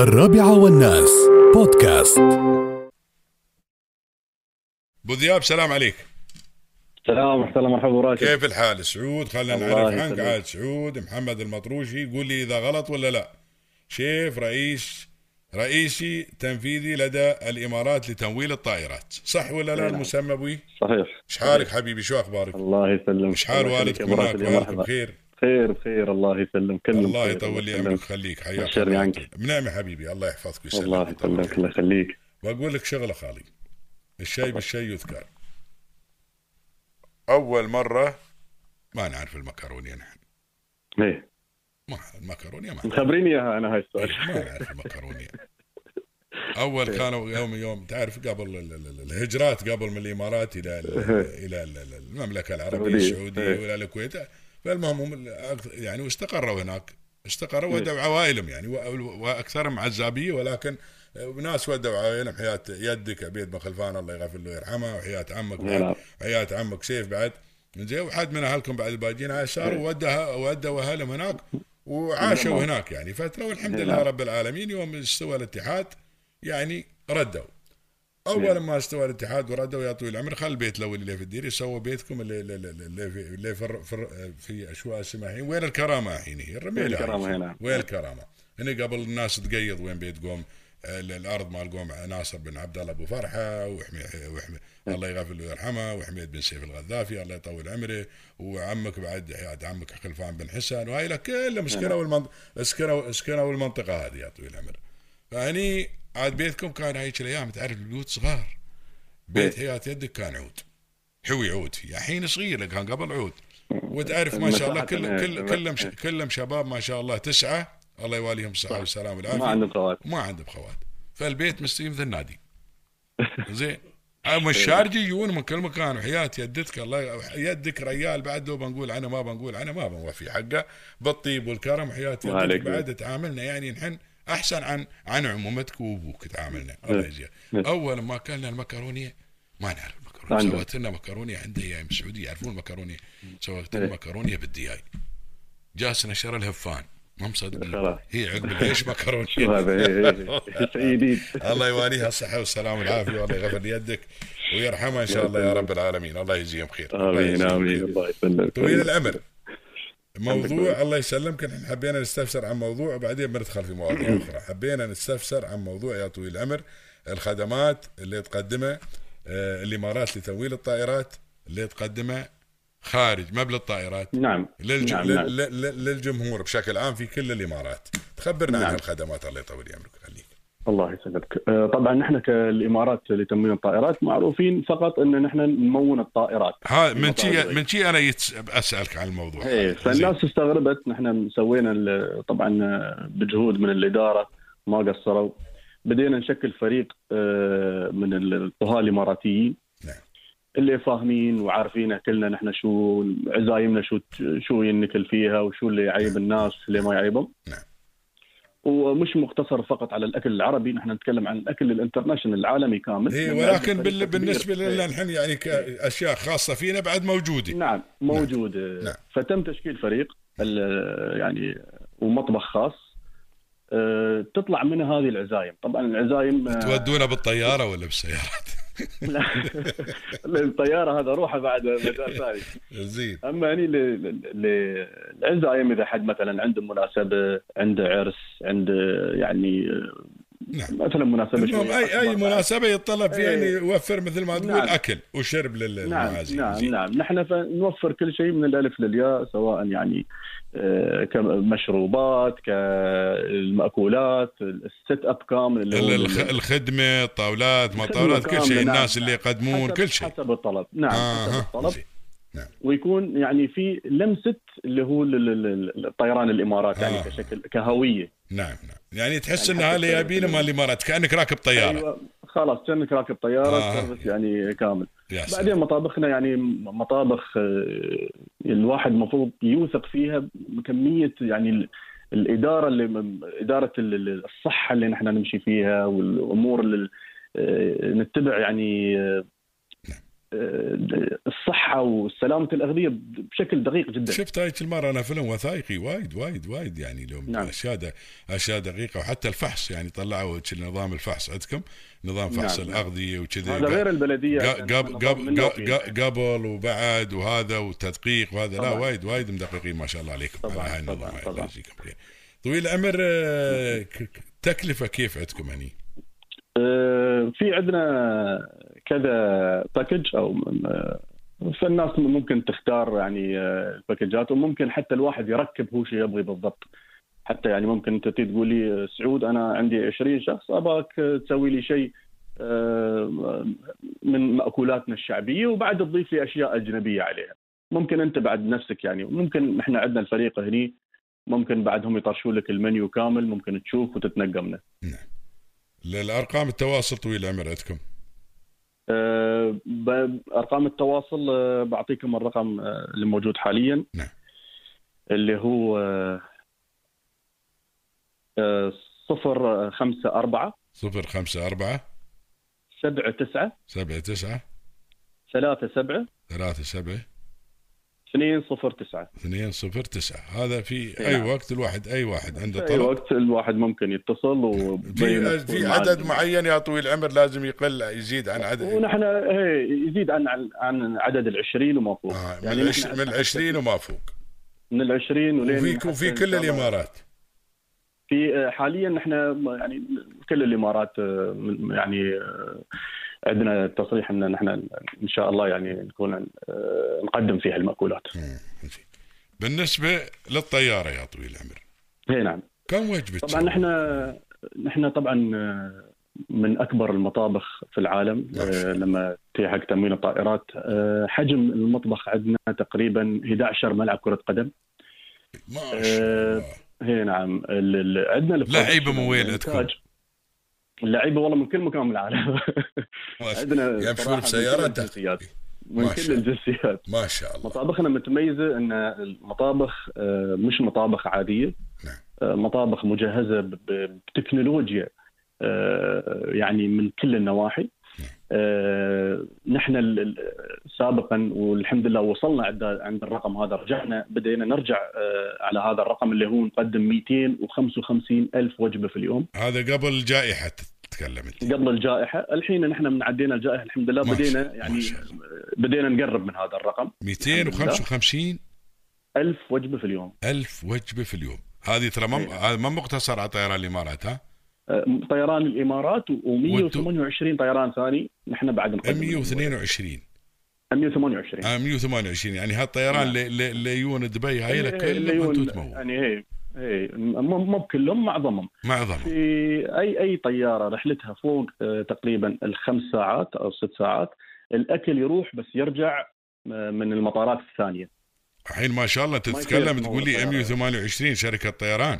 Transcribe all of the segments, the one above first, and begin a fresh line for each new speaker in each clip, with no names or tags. الرابعة والناس بودكاست
ابو ذياب سلام عليك
السلام ورحمة الله مرحبا براشد
كيف الحال سعود خلينا
الله
نعرف عنك
يسلمك.
عاد سعود محمد المطروشي قول لي اذا غلط ولا لا شيف رئيس رئيسي تنفيذي لدى الامارات لتمويل الطائرات صح ولا لا
نعم.
المسمى ابوي
صحيح
ايش حالك حبيبي شو اخبارك
الله يسلمك
ايش حال
الله يخليك
والدك
يا أبو راشد،
هناك
يا
والدك
مرحبا.
بخير
خير خير الله يسلمك كلم
الله
خير،
يطول لي
يسلمك.
عمرك خليك حياك
بشرني
الله.
عنك.
بنعمه حبيبي الله يحفظك ويسلمك
الله يسلمك الله يخليك
بقول لك شغله خالي الشاي بالشاي يذكر اول مره ما نعرف يعني. المكرونيه نحن
ايه
ما المكرونيه ما
خبريني اياها انا هاي السؤال
ما نعرف المكرونيه اول كانوا يوم يوم تعرف قبل ال- ال- ال- الهجرات قبل من الامارات الى ال- الى ال- ال- المملكه العربيه
السعودية.
السعوديه والى الكويت فالمهم هم ال- أكث- يعني واستقروا هناك استقروا ودعوا عوائلهم يعني و- واكثرهم عزابيه ولكن ناس ودعوا عوائلهم حياه يدك عبيد بن خلفان الله يغفر له ويرحمه وحياه عمك
الله
بعد
يلعن.
حياه عمك سيف بعد زين وحد من اهلكم بعد الباجين هاي صاروا ودها ودوا اهلهم هناك وعاشوا هناك يعني فتره والحمد
نعم.
لله رب العالمين يوم استوى الاتحاد يعني ردوا اول
نعم.
ما استوى الاتحاد وردوا يا طويل العمر خل البيت الاول اللي في الدير يسووا بيتكم اللي, اللي, اللي- اللي في, اللي في, الر- في, الر- في شو اسمها الحين وين الكرامه الحين هي الرميلة
وين الكرامة
هاي.
هنا؟
وين الكرامه هنا قبل الناس تقيض وين بيت قوم آه، الارض مال قوم ناصر بن عبد الله ابو فرحه وحمي, وحمي الله يغفر له ويرحمه وحميد بن سيف الغذافي الله يطول عمره وعمك بعد حياه عمك خلفان بن حسن وهاي لا كلهم سكنوا المنطقه سكنوا سكنوا المنطقه هذه يا طويل العمر فهني عاد بيتكم كان هيك الايام تعرف البيوت صغار بيت حياه يدك كان عود حوي عود فيه الحين صغير كان قبل عود وتعرف ما شاء الله كل كل كلهم ش- كلهم شباب ما شاء الله تسعه الله يواليهم الصحه والسلام
ما
والعافيه
عندك خوات
وما عنده بخوات فالبيت مستوي مثل النادي زين اما
إيه.
الشارجه يجون من كل مكان وحياه يدتك الله يدك ريال بعد لو بنقول عنه ما بنقول عنه ما بنوفي حقه بالطيب والكرم حياه
الله
يدك
عليك.
بعد تعاملنا يعني نحن احسن عن عن عمومتك وابوك تعاملنا
إيه.
الله يجزيك اول ما اكلنا المكرونيه ما نعرف المكرونيه
عندك.
سويت لنا مكرونيه عندها يا السعوديه يعرفون المكرونيه سويت
إيه.
لنا مكرونيه بالدياي جاسنا شر الهفان ما
خلاص.
مصدق هي عقب ليش
شو
مكرونيه
هذا إيه، إيه، إيه. شيء جديد
الله يواليها الصحة والسلامة والعافية والله يغفر يدك ويرحمها إن شاء الله يا رب العالمين الله يجزيهم خير الله
امين
يجزيهم
امين
خير.
الله يسلمك
طويل العمر موضوع
بالله.
الله يسلمك احنا حبينا نستفسر عن موضوع وبعدين بندخل في مواضيع اخرى حبينا نستفسر عن موضوع يا طويل العمر الخدمات اللي تقدمها آه، الامارات لتمويل الطائرات اللي تقدمها خارج ما بالطائرات
نعم
للج...
نعم
لل-
نعم
لل- لل- للجمهور بشكل عام في كل الامارات تخبرنا عن
نعم.
الخدمات الله يطول عمرك خليك
الله يسلمك آه، طبعا نحن كالامارات لتموين الطائرات معروفين فقط ان نحن نمون الطائرات
ها من شي
المطاعم
من شي انا يتس... اسالك عن الموضوع
ايه
إيه، زين.
فالناس استغربت نحن سوينا ال- طبعا بجهود من الاداره ما قصروا بدينا نشكل فريق آه، من الطهاه الاماراتيين
نعم.
اللي فاهمين وعارفين كلنا نحن شو عزايمنا شو شو ينكل فيها وشو اللي يعيب الناس اللي ما يعيبهم
نعم.
ومش مقتصر فقط على الاكل العربي نحن نتكلم عن الاكل الانترناشونال العالمي كامل
إيه
لأن عندنا
ولكن
فريق
بال...
كبير.
بالنسبه
إيه.
لنا نحن يعني كاشياء خاصه فينا بعد موجوده
نعم موجود
نعم.
فتم تشكيل فريق ال- يعني ومطبخ خاص أه، تطلع منها هذه العزايم طبعا العزايم أه،
تودونا بالطياره ولا بالسيارات
لا، الطياره هذا روحه بعد مجال ثاني
زين
اما هني ل- ل- ل- العزايم اذا حد مثلا عنده مناسبه عنده عرس عنده يعني أه،
نعم
مثلا مناسبه
المهم
شوية
اي اي
أكبر.
مناسبه يتطلب فيها ان
إيه.
يوفر مثل ما تقول
نعم.
اكل وشرب لل-
نعم
للمعازيم
نعم
زين.
نعم نحن ف- نوفر كل شيء من الالف للياء سواء يعني آه، كمشروبات كالمأكولات السيت اب كامل اللي هو
ال- الخ- الخدمه الطاولات ما
الخدمة
الطاولات كل شيء
كاملة، نعم،
الناس اللي
نعم.
يقدمون
حسب-
كل شيء
حسب الطلب نعم حسب
آه
الطلب ويكون يعني في لمسه اللي هو ال- ال- ال- الطيران الامارات يعني
آه.
كشكل كهويه
نعم نعم يعني تحس
يعني
ان
حتى
هذا يبينا
ال-
مال الامارات كانك راكب طياره
ايوه خلاص كانك راكب طياره
آه.
سيرفيس يعني كامل
يا سلام.
بعدين مطابخنا يعني مطابخ آه، الواحد المفروض يوثق فيها بكميه يعني ال- الاداره اللي م- اداره ال- ال- الصحه اللي نحن نمشي فيها والامور اللي آه، نتبع يعني آه، الصحه وسلامه الاغذيه بشكل دقيق جدا
شفت هايك المره انا فيلم وثائقي وايد وايد وايد يعني اليوم
نعم.
اشياء اشياء دقيقه وحتى الفحص يعني طلعوا هيك نظام الفحص عندكم نظام فحص
نعم.
الاغذيه وكذي
هذا غير البلديه
قا-
يعني
قاب-
أنا
قاب-
منه
قا-
وفيه.
قا- قبل وبعد وهذا والتدقيق وهذا لا
طبعاً.
وايد وايد مدققين ما شاء الله عليكم
طبعاً،
على هاي
طبعاً،
النظام هاي.
طبعاً.
الله يجزيكم خير. طويل العمر آه، ك- ك- تكلفه كيف عندكم هني؟
آه، في عندنا كذا باكج او آه، فالناس ممكن تختار يعني آه، الباكجات وممكن حتى الواحد يركب هو شو يبغي بالضبط حتى يعني ممكن انت تي تقول لي آه، سعود انا عندي 20 شخص اباك آه، تسوي لي شيء آه، من ماكولاتنا الشعبيه وبعد تضيف لي اشياء اجنبيه عليها ممكن انت بعد نفسك يعني ممكن احنا عندنا الفريق هني ممكن بعدهم يطرشوا لك المنيو كامل ممكن تشوف وتتنقى منه
الارقام التواصل طويل العمر عندكم
آه، ب- ارقام التواصل آه، بعطيكم الرقم آه، اللي موجود حاليا
نعم.
اللي هو آه، صفر آه، خمسة أربعة
054
سبعة تسعة
79
ثلاثة سبعة
37
اثنين صفر تسعة
209 هذا في
نعم.
اي وقت الواحد اي واحد عنده
أي
طلب
وقت الواحد ممكن يتصل وبين
في في عدد معين يا طويل العمر لازم يقل يزيد عن عدد
ونحن إيه، يزيد عن عن- عن عدد العشرين وما فوق
آه من
يعني
العش-
نحن
من 20 وما فوق
من العشرين ولين
وفي في
حتى
كل
إن شاء الله
الامارات
في آه، حاليا نحن م- يعني كل الامارات آه، من- يعني آه، عندنا تصريح ان نحن ان شاء الله يعني نكون عن- آه، نقدم فيها المأكولات.
مم، آه، زين. بالنسبه للطياره يا طويل العمر
اي نعم.
كم وجبه
طبعا
تسوي؟
نحن نحن طبعا آه، من اكبر المطابخ في العالم
نعم.
آه، لما تي حق تموين الطائرات آه، حجم المطبخ عندنا تقريبا 11 ملعب كره قدم آه،
ما شاء الله
هي نعم ال- ال- عندنا
لعيبة من وين
الإنتاج.
عندكم؟
اللعيبه والله من كل مكان من العالم
ما شاء-
عندنا صراحة
يمشون
من كل
بسيارات
الجنسيات. من
ما
كل
شاء الله
الجنسيات
ما شاء الله
مطابخنا متميزه ان المطابخ آه، مش مطابخ عاديه
نعم.
آه، مطابخ مجهزه ب- ب- بتكنولوجيا آه، يعني من كل النواحي
نعم.
آه، نحن ال- ال- سابقا والحمد لله وصلنا عند عند الرقم هذا رجعنا بدينا نرجع آه، على هذا الرقم اللي هو نقدم 255 الف وجبه في اليوم
هذا قبل الجائحه تتكلم انت
قبل الجائحه الحين نحن من عدينا الجائحه الحمد لله
ما شاء-
بدينا
ما
يعني
شاء الله.
بدينا نقرب من هذا الرقم
255
ألف وجبه في اليوم
ألف وجبه في اليوم هذه ترى ما
إيه.
هذا ما مقتصر على طيران الامارات ها
آه، طيران الامارات و128 طيران ثاني نحن بعد نقدم
122
128
آه، 128 يعني هالطيران
نعم.
اللي- اللي اللي يجون دبي
إيه،
هاي لك
اللي
كلهم
هو-
انتم تموت
يعني هي هي مو مو بكلهم معظمهم
معظم
في اي اي طياره رحلتها فوق آه، تقريبا الخمس ساعات او ست ساعات الاكل يروح بس يرجع آه، من المطارات الثانيه
الحين ما شاء الله
ما
تتكلم
يصير
تقول لي
طيران.
128 شركه طيران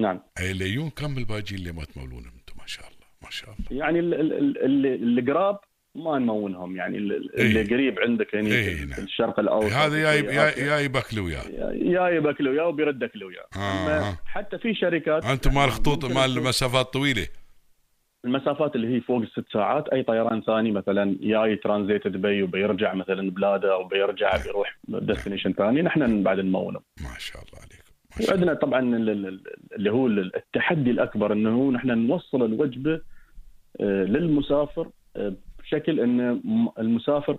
نعم
هاي اللي يجون كم الباجين اللي ما تمولونهم انتم ما شاء الله ما شاء الله
يعني ال- ال- ال- ال- القراب ما نمونهم يعني ال- ال- اللي
إيه.
قريب عندك هنا
إيه،
في
نعم.
الشرق الاوسط
هذا جايب
وفي آسيا.
جايب اكل وياه
يا يبك له وياه وبيردك له وياه
آه.
أما حتى في شركات
انتم مال خطوط
ممكن
مال
يكون
مسافات طويله
المسافات اللي هي فوق الست ساعات اي طيران ثاني مثلا جاي ترانزيت دبي وبيرجع مثلا بلاده او بيرجع
إيه.
بيروح ديستنيشن ثاني نحن بعد نمونه
ما شاء الله عليكم ما شاء الله
وعندنا طبعا ال- ال- اللي هو التحدي الاكبر انه هو نحن نوصل الوجبه آه، للمسافر آه، بشكل ان م- المسافر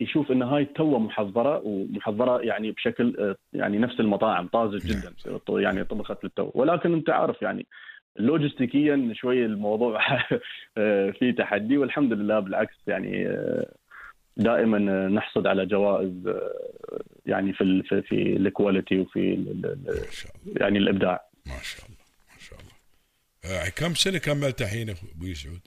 يشوف ان هاي توه محضره ومحضره يعني بشكل آه، يعني نفس المطاعم طازج جدا يعني طبخت للتو ولكن انت عارف يعني لوجستيكيا شوي الموضوع آه، فيه تحدي والحمد لله بالعكس يعني آه، دائما آه، نحصد على جوائز آه، يعني في ال- في- في الكواليتي وفي ال- ال-
ما شاء الله
يعني الابداع
ما شاء الله ما شاء الله آه، كم سنه كملت الحين أخو- ابوي سعود؟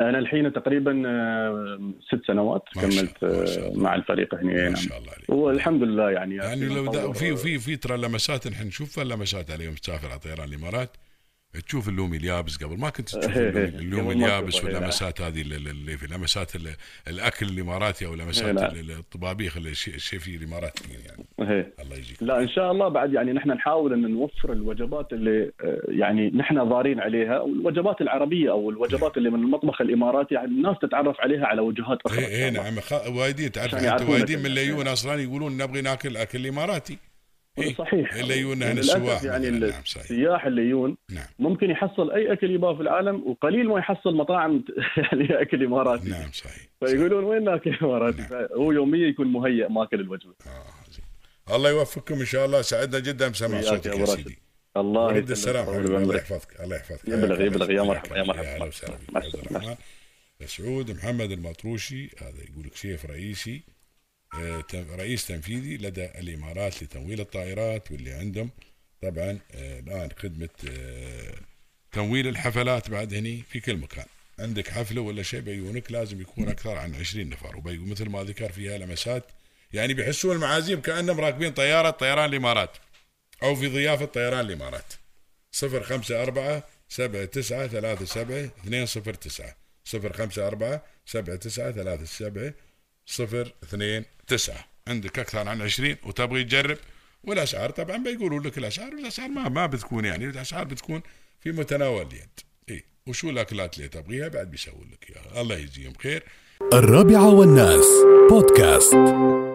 انا الحين تقريبا آه، ست سنوات
ما شاء الله،
كملت
ما
آه،
شاء الله.
مع الفريق هنا
ما
نعم.
شاء الله عليك
والحمد لله يعني
يعني لو دا
نطور-
في في في ترى لمسات نحن نشوفها لمسات اليوم تسافر على طيران الامارات تشوف اللوم اليابس قبل ما كنت تشوف
إيه،
اللوم,
إيه.
اللوم
قبل ما
اليابس
تشوفه، إيه،
واللمسات هذه اللي- اللي في لمسات ال- الاكل الاماراتي او
إيه،
لمسات
لا.
ال- ال- الطبابيخ اللي الشي- الشيفي الاماراتي يعني
إيه.
الله يجيك
لا ان شاء الله بعد يعني نحن نحاول ان نوفر الوجبات اللي آه، يعني نحن ضارين عليها والوجبات العربيه او الوجبات اللي من المطبخ الاماراتي يعني الناس تتعرف عليها على وجهات اخرى
اي اي نعم خ... وايدين تعرف
عشان
حتى
يعرفونك
وايدين من
الناس،
الليون اصلا يقولون نبغي ناكل اكل اماراتي إيه،
صحيح
الليون هنا
للأسف
السواح
يعني
مثلاً، نعم صحيح
السياح الليون
نعم
ممكن يحصل اي اكل يباه في العالم وقليل ما يحصل مطاعم يعني اكل اماراتي
نعم صحيح
فيقولون وين ناكل اماراتي هو يوميا يكون مهيئ ماكل الوجبه
آه، زين. الله يوفقكم ان شاء الله سعدنا جدا مسامع
وياك يا
صوتك
أبو
يا
راشد.
سيدي
الله
ورد السلام
يسلمك.
حبيبي، الله يحفظك الله يحفظك
يبلغ- يبلغ، يا مرحبا، يا
حياك الله.
مرحبا.
اهلا وسهلا فيك
مع
عبد
السلامة.
الرحمن سعود محمد المطروشي هذا يقول لك شيف رئيسي آه، تن- رئيس تنفيذي لدى الامارات لتمويل الطائرات واللي عندهم طبعا آه، الان خدمه آه، تمويل الحفلات بعد هني في كل مكان عندك حفله ولا شيء بيونك لازم يكون اكثر عن 20 نفر وبي مثل ما ذكر فيها لمسات يعني بيحسون المعازيم كانهم راكبين طياره طيران الامارات أو في ضيافة طيران الإمارات صفر خمسة أربعة سبعة تسعة ثلاثة سبعة اثنين صفر تسعة صفر خمسة أربعة سبعة تسعة ثلاثة سبعة صفر اثنين تسعة عندك أكثر عن عشرين وتبغي تجرب والأسعار طبعا بيقولوا لك الأسعار والأسعار ما ما بتكون يعني الأسعار بتكون في متناول اليد إيه وشو الأكلات اللي تبغيها بعد بيسووا لك إياها الله يجزيهم خير
الرابعة والناس بودكاست